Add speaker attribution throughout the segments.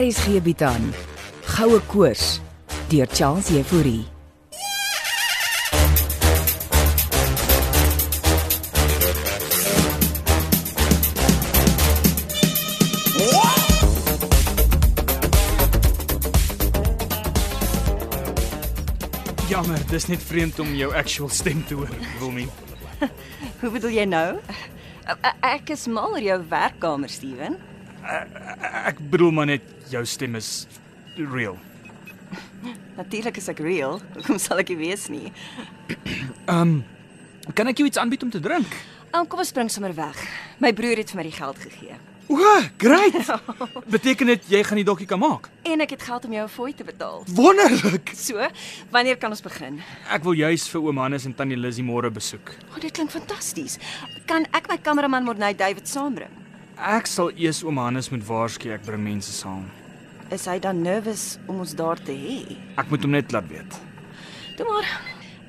Speaker 1: RSG bied aan Goue Koors deur Charles Euphorie.
Speaker 2: Jammer, dis net vreemd om jou actual stem te hoor, Wilmien.
Speaker 3: Hoe bedoel jy nou? E- Ek is mal oor jou werkkamer, Steven.
Speaker 2: Ek bedoel maar net jou stem is real.
Speaker 3: Natuurlik is ek real. Hoekom sal ek dit weet nie?
Speaker 2: Kan ek jou iets aanbied om te drink?
Speaker 3: Ou, kom ons spring sommer weg. My broer het vir my die geld gegee
Speaker 2: O, great. Beteken dit jy gaan die dokkie kan maak?
Speaker 3: en ek het geld om jou 'n fooi te betaal.
Speaker 2: Wonderlik.
Speaker 3: So, wanneer kan ons begin?
Speaker 2: Ek wil juis vir oom Hannes en tannie Lizzie môre besoek.
Speaker 3: O, oh, dit klink fantasties. Kan ek my kameraman Morney David saambring?
Speaker 2: Ek sal eers oom Hannes moet waarsku ek bring mense saam.
Speaker 3: Is hy dan nervus om ons daar te hê?
Speaker 2: Ek moet hom net laat weet.
Speaker 3: Toe maar.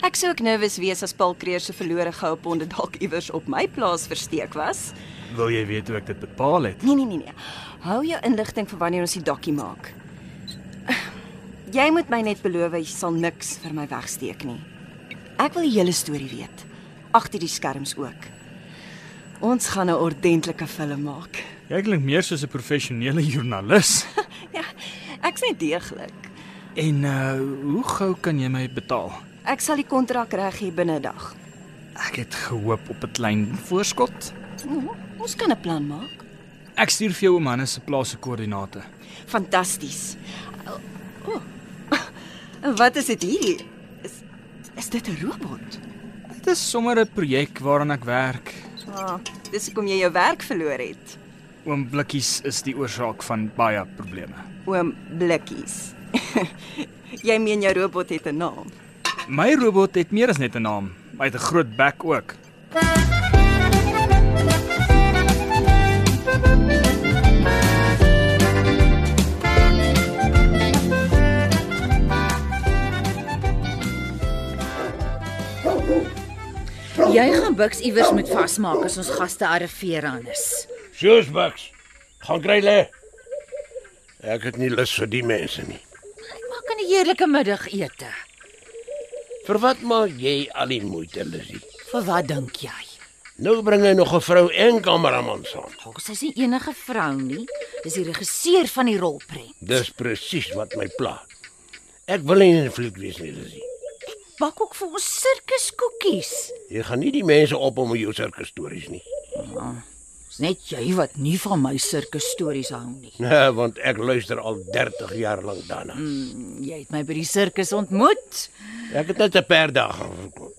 Speaker 3: Ek sou ook nervus wees as Paul Kreer se verlore goue ponde dalk iewers op my plaas versteek was.
Speaker 2: Wil jy weet hoe ek dit bepaal het?
Speaker 3: Nee nee nee nee. Hou jou inligting vir wanneer ons die dokkie maak. Jy moet my net beloof jy sal niks vir my wegsteek nie. Ek wil die hele storie weet. Agter die skerms ook. Ons gaan 'n ordentlike film maak.
Speaker 2: Jy klink meer soos 'n professionele joernalis.
Speaker 3: Ja, ek's net deeglik.
Speaker 2: En uh, hoe gou kan jy my betaal?
Speaker 3: Ek sal die kontrak reg hê binne 'n dag.
Speaker 2: Ek het gehoop op 'n klein voorskot.
Speaker 3: O, Hm, Ons kan 'n plan maak.
Speaker 2: Ek stuur vir jou oom Hannes se plaas se koördinate.
Speaker 3: Fantasties. O. Oh. Wat is dit hierdie? Is is dit 'n robot?
Speaker 2: Dit is sommer 'n projek waaraan ek werk.
Speaker 3: Ah, dis hoekom jy jou werk verloor het.
Speaker 2: Oom Blikkies is die oorsaak van baie probleme.
Speaker 3: Oom Blikkies. jy meen jou robot het 'n naam.
Speaker 2: My robot het meer as net 'n naam. Hy het 'n groot bek ook.
Speaker 4: Jy gaan Bucks iewers moet vasmaak as ons gaste arriveer anders.
Speaker 5: Soos buks. Gaan kry lê. Ek het nie lus vir die mense nie.
Speaker 4: Ek maak 'n heerlike middagete.
Speaker 5: Vir wat maak jy al die moeite, Lizzie?
Speaker 4: Vir wat dink jy?
Speaker 5: Nou bring hy nog 'n vrou en kameraman saam.
Speaker 4: Ons is nie enige vrou nie. Dis die regisseur van die rolprent.
Speaker 5: Dis presies wat my pla. Ek wil nie in vlieg wees nie, Lizzie.
Speaker 4: Bak ook vir ons sirkuskoekies.
Speaker 5: Jy gaan nie die mense op om jou sirkus stories nie.
Speaker 4: Dis net jy wat nie van my sirkus stories hou nie.
Speaker 5: Nee, want ek luister al 30 jaar lank daarna.
Speaker 4: Jy het my by die sirkus ontmoet
Speaker 5: Ek het net 'n paar dae gaan verkoop.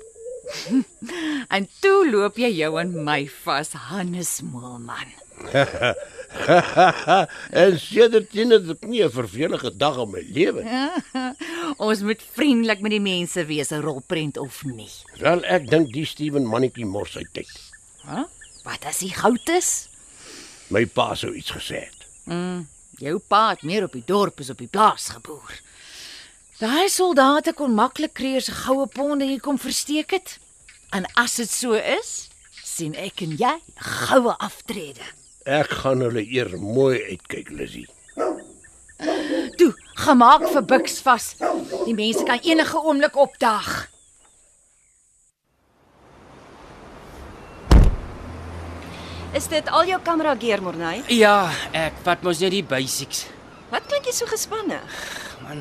Speaker 4: en toe loop jy jou en my vas, Hannes Moelman.
Speaker 5: en sedertdien het ek nie 'n vervelige dag in my lewe. nie.
Speaker 4: Ons moet vriendelik met die mense wees, 'n rolprent of nie.
Speaker 5: Wel, ek dink die Steven mannetjie mors sy tyd.
Speaker 4: Hæ? Wat as hy goud is?
Speaker 5: My pa sou iets gesê het.
Speaker 4: Jou pa het meer op die dorp as op die plaas geboer. Daai soldate kon maklik kreer se goue ponde hier kom versteek het. En as dit so is, sien ek en jy 'n goue aftrede.
Speaker 5: Ek gaan hulle eer mooi uitkyk, Lizzie.
Speaker 4: Toe, gemaak vir Bucks vas. Die mense kan enige oomblik opdag.
Speaker 3: Is dit al jou kamera gear, Morney?
Speaker 6: Ja, ek vat mos net die basics.
Speaker 3: Wat klink jy so gespanne?
Speaker 6: Man,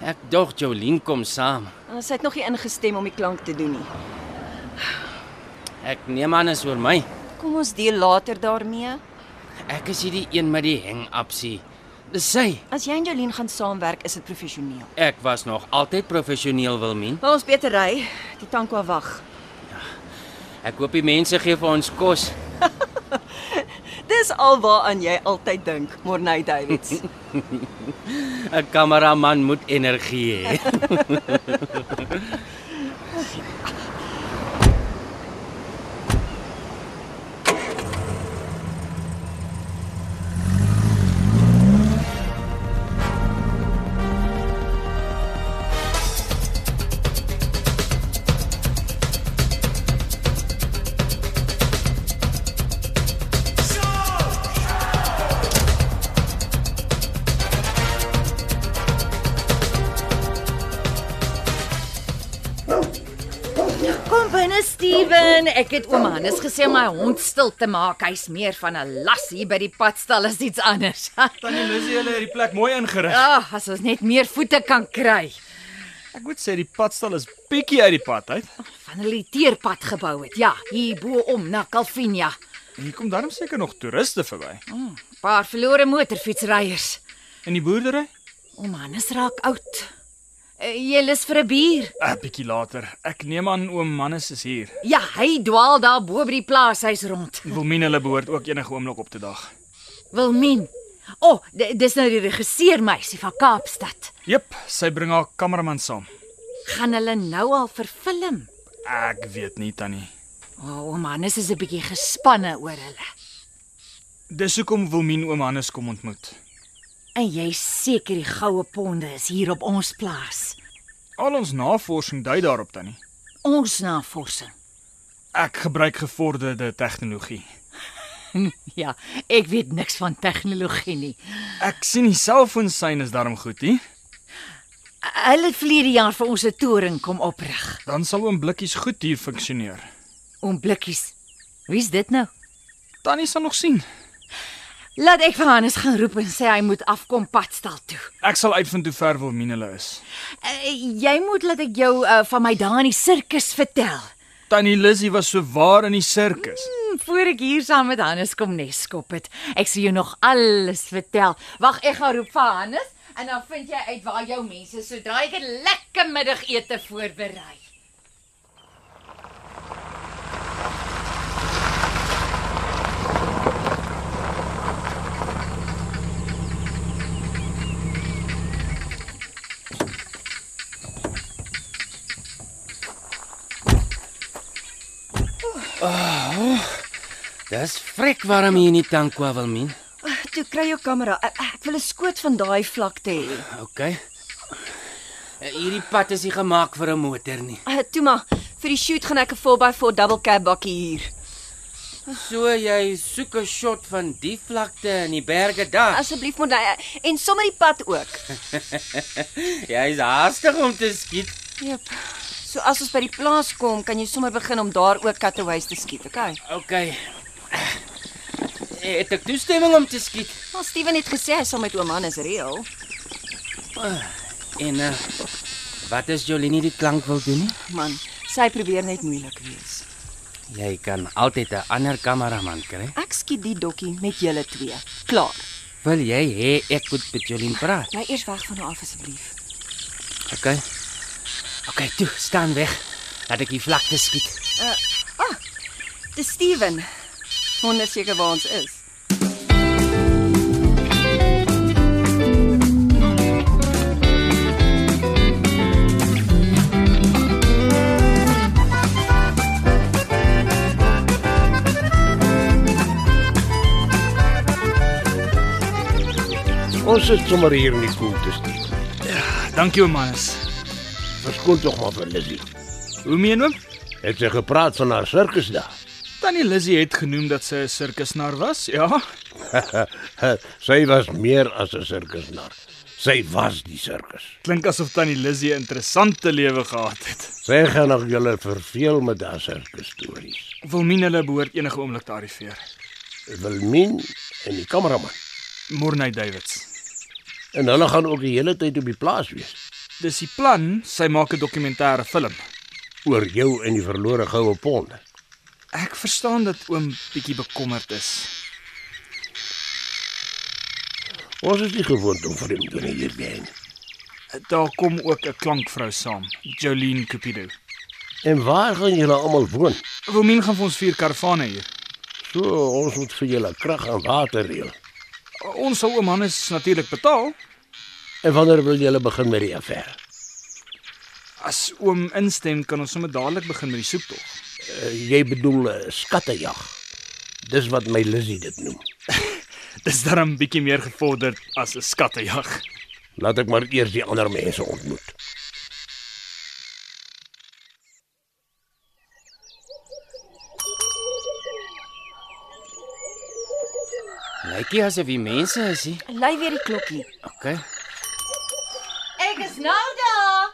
Speaker 6: ek dog Jolien kom saam.
Speaker 3: Ah, Sy het nog nie ingestem om die klank te doen nie.
Speaker 6: Ek neem aan is oor my.
Speaker 3: Kom ons deel later daarmee.
Speaker 6: Ek is hierdie een met die hang-upsie. Dis sy.
Speaker 3: As jy en Jolien gaan saamwerk, is dit professioneel.
Speaker 6: Ek was nog altyd professioneel Wilmien.
Speaker 3: Wil ons beter ry? Die tankwa wag.
Speaker 6: Ek hoop die mense gee vir ons kos.
Speaker 3: Dis alwaaraan jy altyd dink, Morney Davids.
Speaker 6: 'n Kameraman moet energie hê.
Speaker 7: Show!
Speaker 4: En ek het ouma Hannes gesê om my hond stil te maak. Hy's meer van 'n las hier by die padstal as iets anders.
Speaker 2: Tannie Lizzie hulle het die plek mooi ingerig.
Speaker 4: Ag, as ons net meer voete kan kry.
Speaker 2: Ek moet sê die padstal is bietjie uit die pad uit.
Speaker 4: Van hulle die teerpad gebou het. Ja, hier bo om na Calvinia. Hmm,
Speaker 2: Hier kom darm seker nog toeriste verby.
Speaker 4: Paar verlore motorfietsryers.
Speaker 2: In die boerdery?
Speaker 4: Ouma Hannes raak oud. Eh, Jy lus vir 'n bier?
Speaker 2: 'n Ah, Bietjie later. Ek neem aan oom Mannes is hier.
Speaker 4: Ja, hy dwaal daar bo by die plaashuis rond.
Speaker 2: Wilmien hulle behoort ook enige oomblik op te dag.
Speaker 4: Wilmien. O, oh, di- dis nou die regisseurmeisie van Kaapstad.
Speaker 2: Jep, sy bring haar kameraman saam.
Speaker 4: Gaan hulle nou al verfilm?
Speaker 2: Ek weet nie tannie.
Speaker 4: O, oh, man, dis is 'n bietjie gespanne oor hulle.
Speaker 2: Dis hoekom Wilmien oom Hannes kom ontmoet.
Speaker 4: En jy seker die goue ponde is hier op ons plaas.
Speaker 2: Al ons navorsing dui daarop tannie.
Speaker 4: Ons navorsing.
Speaker 2: Ek gebruik gevorderde tegnologie.
Speaker 4: Ja, ek weet niks van tegnologie nie.
Speaker 2: Ek sien die selfoonsein is daarom goed, hè?
Speaker 4: Hulle het verlede jaar vir ons 'n toring kom oprig.
Speaker 2: Dan sal oom blikkies goed hier funksioneer.
Speaker 4: Om blikkies. Wie's dit nou?
Speaker 2: Tannie sal nog sien.
Speaker 4: Laat ek vir Hannes gaan roep en sê hy moet afkom padstal toe.
Speaker 2: Ek sal uitvind hoe ver Wilmien hulle is.
Speaker 4: Uh, jy moet laat ek jou uh, van my dae in die sirkus vertel.
Speaker 2: Tannie Lizzie was so waar in die sirkus.
Speaker 4: Hmm, voor ek hier saam met Hannes kom neskop het. Ek sal jou nog alles vertel. Wag, ek gaan roep vir Hannes en dan vind jy uit waar jou mense is sodra ek 'n lekker middagete voorberei.
Speaker 6: Dis vrek warm hier in die tankwa Wilmien.
Speaker 3: Toe kry jou kamera. Ek, ek wil 'n skoot van daai vlakte hê.
Speaker 6: OK. Eh, Hierdie pad is nie gemaak vir 'n motor nie.
Speaker 3: Uh, toe maar, vir die shoot gaan ek 'n 4x4 double cab bakkie hier.
Speaker 6: So jy soek 'n shot van die vlakte en die berge daar.
Speaker 3: Asseblief moet jy en sommer die pad ook.
Speaker 6: Jy's haastig om te skiet.
Speaker 3: Jep. So as ons by die plaas kom, kan jy sommer begin om daar ook cutaways te skiet, okay?
Speaker 6: OK. Eh, Het ek toestemming om te skiet?
Speaker 3: Maar Steven het gesê hy sal met oom Hannes reël.
Speaker 6: En uh, wat as Jolini die klank wil doen nie?
Speaker 3: Man, sy probeer net moeilik wees.
Speaker 6: Jy kan altyd 'n ander kameraman kry.
Speaker 3: Ek skiet die dokkie met julle twee. Klaar.
Speaker 6: Wil jy hê ek moet met Jolien praat?
Speaker 3: Bly eers weg van haar af asseblief.
Speaker 6: OK. OK, toe, staan weg. Laat ek die vlakte skiet.
Speaker 3: Dis Steven. Wonder seker waar ons is.
Speaker 5: Ons sit sommer hier in die koelte steek.
Speaker 2: Dankie oom Hannes.
Speaker 5: Verskoon tog maar vir Lizzie.
Speaker 2: Hoe meen oom?
Speaker 5: Het sy gepraat van haar sirkus daar?
Speaker 2: Tannie Lizzie het genoem dat sy 'n sirkusnar was. Ja.
Speaker 5: sy was meer as 'n sirkusnar. Sy was die sirkus.
Speaker 2: Klink asof tannie Lizzie 'n interessante lewe gehad het.
Speaker 5: Sy gaan nog julle verveel met haar sirkus stories.
Speaker 2: Wilmien hulle behoort enige oomblik te arriveer.
Speaker 5: Wilmien en die kameraman.
Speaker 2: Morney Davids.
Speaker 5: En hulle gaan ook die hele tyd op die plaas wees
Speaker 2: Dis die plan, sy maak 'n dokumentêre film.
Speaker 5: oor jou en die verlore goue pond.
Speaker 2: Ek verstaan dat oom bietjie bekommerd is.
Speaker 5: Ons is nie gewoond om vreemdelinge hier te hê. nie.
Speaker 2: Daar kom ook 'n klankvrou saam, Jolene Cupido.
Speaker 5: En waar gaan julle almal woon?
Speaker 2: Wilmien gaan vir ons vier karavane hier.
Speaker 5: So, ons moet vir julle krag en water reël.
Speaker 2: Ons sal oom Hannes natuurlik betaal
Speaker 5: En wanneer wil julle begin met die affære?
Speaker 2: As oom instem, kan ons sommer dadelik begin met die soektog.
Speaker 5: Uh, jy bedoel uh, skattejag. Dis wat my Lizzie dit noem.
Speaker 2: Dis darm bietjie meer gevorderd as 'n skattejag.
Speaker 5: Laat ek maar eers die ander mense ontmoet.
Speaker 6: Lykie asof die mense is hier.
Speaker 3: Lei weer die klokkie.
Speaker 6: OK.
Speaker 4: Ek is nou daar.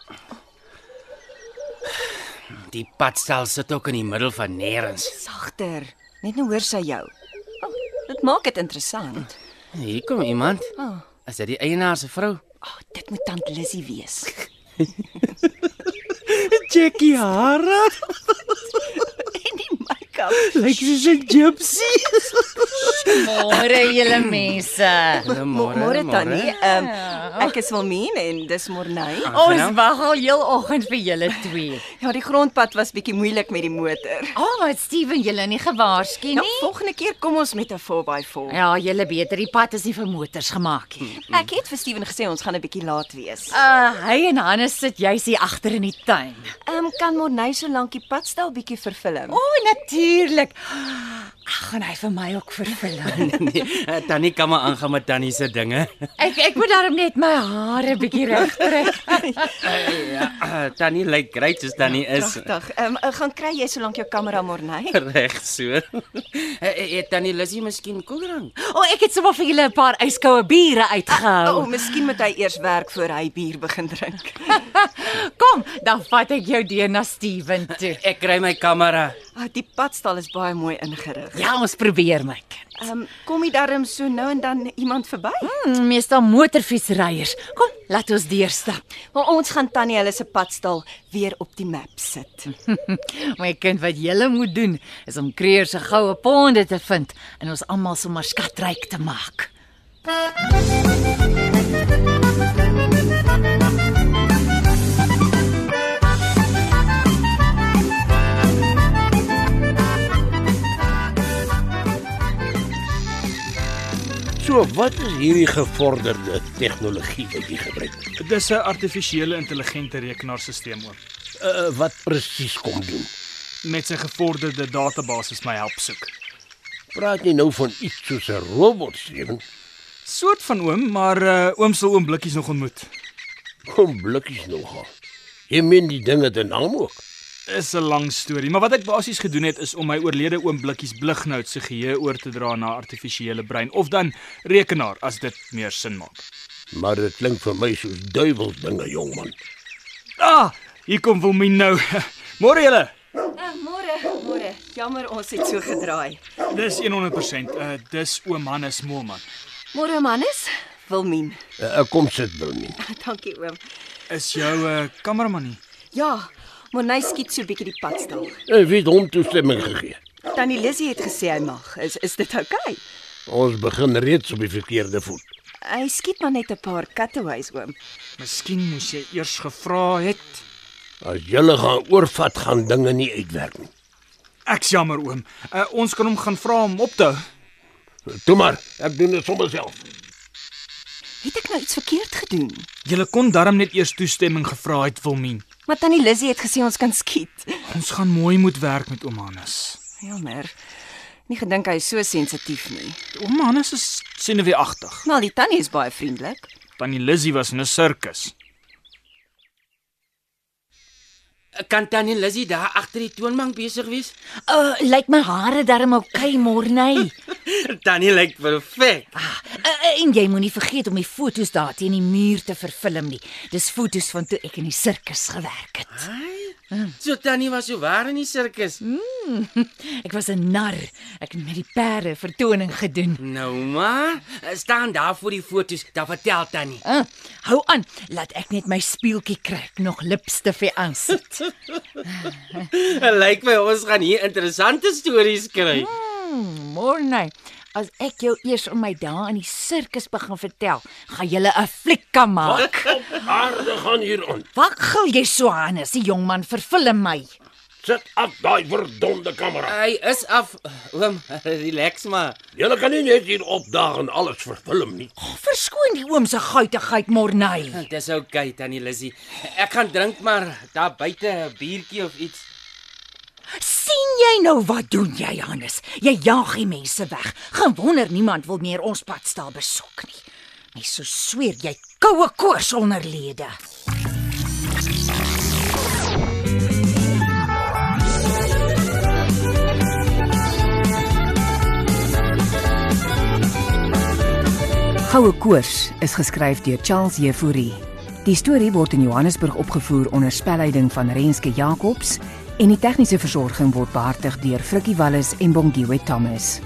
Speaker 6: Die padstel sit ook in die middel van nêrens.
Speaker 3: Sagter. Net nou hoor sy jou. Oh, dit maak dit interessant.
Speaker 6: Hier kom iemand.
Speaker 3: Oh,
Speaker 6: Is dit die eienaar se vrou?
Speaker 3: oh dit moet tant Lissy wees.
Speaker 6: Jackie Hara,
Speaker 3: en die make-up.
Speaker 6: lyk soos 'n gypsy.
Speaker 4: Môre julle mense.
Speaker 3: Môre tannie. Ehm ek is Wilmien en dis Morney.
Speaker 6: Oh,
Speaker 4: Ons
Speaker 6: nou?
Speaker 4: wag al heel oggend vir julle twee.
Speaker 3: Ja, die grondpad was bietjie moeilik met die motor.
Speaker 4: Ah, oh, wat Steven julle nie gewaarsku
Speaker 3: Ja,
Speaker 4: nie.
Speaker 3: volgende keer kom ons met 'n 4x4.
Speaker 4: Ja, julle beter die pad is nie vir motors gemaak nie.
Speaker 3: Ek het vir Steven gesê ons gaan 'n bietjie laat wees.
Speaker 4: Uh, hy en Hannes sit juis hier agter in die tuin.
Speaker 3: Ehm um, kan Morney so lank die padstel bietjie vervilm?
Speaker 4: O, oh, natuurlik. Ag, gaan hy vir my ook vervul.
Speaker 6: Nee, tannie kan maar aangaan met tannie se dinge.
Speaker 4: ek ek moet daarom net my hare bietjie regtrek.
Speaker 6: Ja, tannie lyk great soos tannie is.
Speaker 3: Pragtig. Ehm um, gaan kry jy so lank jou kamera Morney?
Speaker 6: Reg so. Het tannie Lissy miskien koeldrank?
Speaker 4: O, oh, ek het sommer vir julle 'n paar yskoue biere uitgehou.
Speaker 3: O, oh, miskien moet hy eers werk voor hy bier begin drink.
Speaker 4: Kom, dan vat ek jou deur na Steven toe.
Speaker 6: Ek kry my kamera.
Speaker 3: Ah, die padstal is baie mooi ingerig.
Speaker 4: Ja, ons probeer my kind.
Speaker 3: Ehm um, kom jy darm so nou en dan iemand verby?
Speaker 4: Mm, meestal motorfietsryers. Kom, laat ons deurstap.
Speaker 3: Maar ons gaan tannie hulle se padstal weer op die map sit.
Speaker 4: My kind, wat jy moet doen is om Kreer se goue ponde te vind en ons almal sommer skatryk te maak.
Speaker 5: So, wat is hierdie gevorderde tegnologie wat jy gebruik? Eh,
Speaker 2: Dis 'n artifisiële intelligente rekenaarstelsel oom.
Speaker 5: Uh, wat presies kom doen?
Speaker 2: Met sy gevorderde database my help soek.
Speaker 5: Praat nie nou van iets soos 'n robot Steven.
Speaker 2: Soort van oom, maar uh, oom sal oom blikkies nog ontmoet.
Speaker 5: Kom blikkies nogal. Jy meen die ding het 'n naam ook.
Speaker 2: Is 'n lang storie, maar wat ek basies gedoen het is om my oorlede oom Blikkies Blighnout se geheue oor te dra na 'n artifisiële brein of dan rekenaar as dit meer sin maak.
Speaker 5: Maar dit klink vir my soos duiwels dinge, jong man.
Speaker 2: Ah, hier kom Wilmien nou. Môre julle.
Speaker 3: Uh, môre, môre. Jammer ons het so gedraai.
Speaker 2: Dis 100%. Uh, dis oom Hannes Moelman.
Speaker 3: Môre Mannes, Wilmien.
Speaker 5: Uh, uh, kom sit, Wilmien.
Speaker 3: Dankie oom.
Speaker 2: Is jou uh, kameraman nie?
Speaker 3: Ja, Monay skiet so 'n bietjie die padstal.
Speaker 5: Ek weet Eh, hom toestemming gegee.
Speaker 3: Tannie Lissy het gesê hy mag. Is is dit oukei? Okay?
Speaker 5: Ons begin reeds op die verkeerde voet.
Speaker 3: Hy skiet maar net 'n paar cutaways oom.
Speaker 2: Miskien moes jy eers gevra het.
Speaker 5: As julle gaan oorvat, gaan dinge nie uitwerk nie.
Speaker 2: Ek jammer oom. Uh, ons kan hom gaan vra om op te hou.
Speaker 5: Toe maar, ek doen dit sommer self.
Speaker 3: Het ek nou iets verkeerd gedoen?
Speaker 2: Julle kon darm net eers toestemming gevra het Wilmien.
Speaker 3: Maar tannie Lissy het gesê ons kan skiet.
Speaker 2: Ons gaan mooi moet werk met oom Hannes.
Speaker 3: Jammer. Nie gedink hy is so sensitief nie.
Speaker 2: Oom Hannes is senuweeagtig.
Speaker 3: Maar die tannie is baie vriendelik.
Speaker 2: Tannie Lizzy was in 'n sirkus.
Speaker 6: Kan tannie Lissy daar agter die toonbank besig wees?
Speaker 4: Uh, lyk my hare darm oukei, okay, Morney.
Speaker 6: Tannie lyk perfek.
Speaker 4: Uh, uh, en jy moenie vergeet om die fotos daar teen die muur te vervilm nie. Dis fotos van toe ek in die sirkus gewerk het.
Speaker 6: So tannie was so waar in die sirkus.
Speaker 4: Ek was 'n nar. Ek het met die perde vertoning gedoen.
Speaker 6: Nou maar, staan daar voor die fotos, dan vertel tannie.
Speaker 4: Uh, hou aan, laat ek net my speeltjie kry, ek nog lipstifie aan sit.
Speaker 6: Lyk my ons gaan hier interessante stories kry.
Speaker 4: Hmm, Morney, as ek jou eers om my dae in die sirkus begin vertel, gaan jy 'n fliek kan maak.
Speaker 5: Op aarde gaan hier aan.
Speaker 4: Wat gil jy so aan as die jong man vervilm my?
Speaker 5: Sit af daai verdomde kamera.
Speaker 6: Hy is af. Oom, relax maar.
Speaker 5: Julle kan nie net hier opdaag en alles verfilm nie.
Speaker 4: Oh, verskoon die oom se guitigheid, Morney.
Speaker 6: Dis oukei, okay, tannie Lissy. Ek gaan drink maar daar buite 'n biertjie of iets.
Speaker 4: sien jy nou wat doen jy, Hannes? Jy jaag die mense weg. Gewonder niemand wil meer ons padstal besoek nie. Mens sou sweer jy het koue koors onder lede.
Speaker 1: Goue koers is geskryf deur Charles Jefouri. Die storie word in Johannesburg opgevoer onder spelleiding van Renske Jacobs
Speaker 4: en die tegniese versorging word behartig deur Frikkie Wallis en Bongwe Thomas.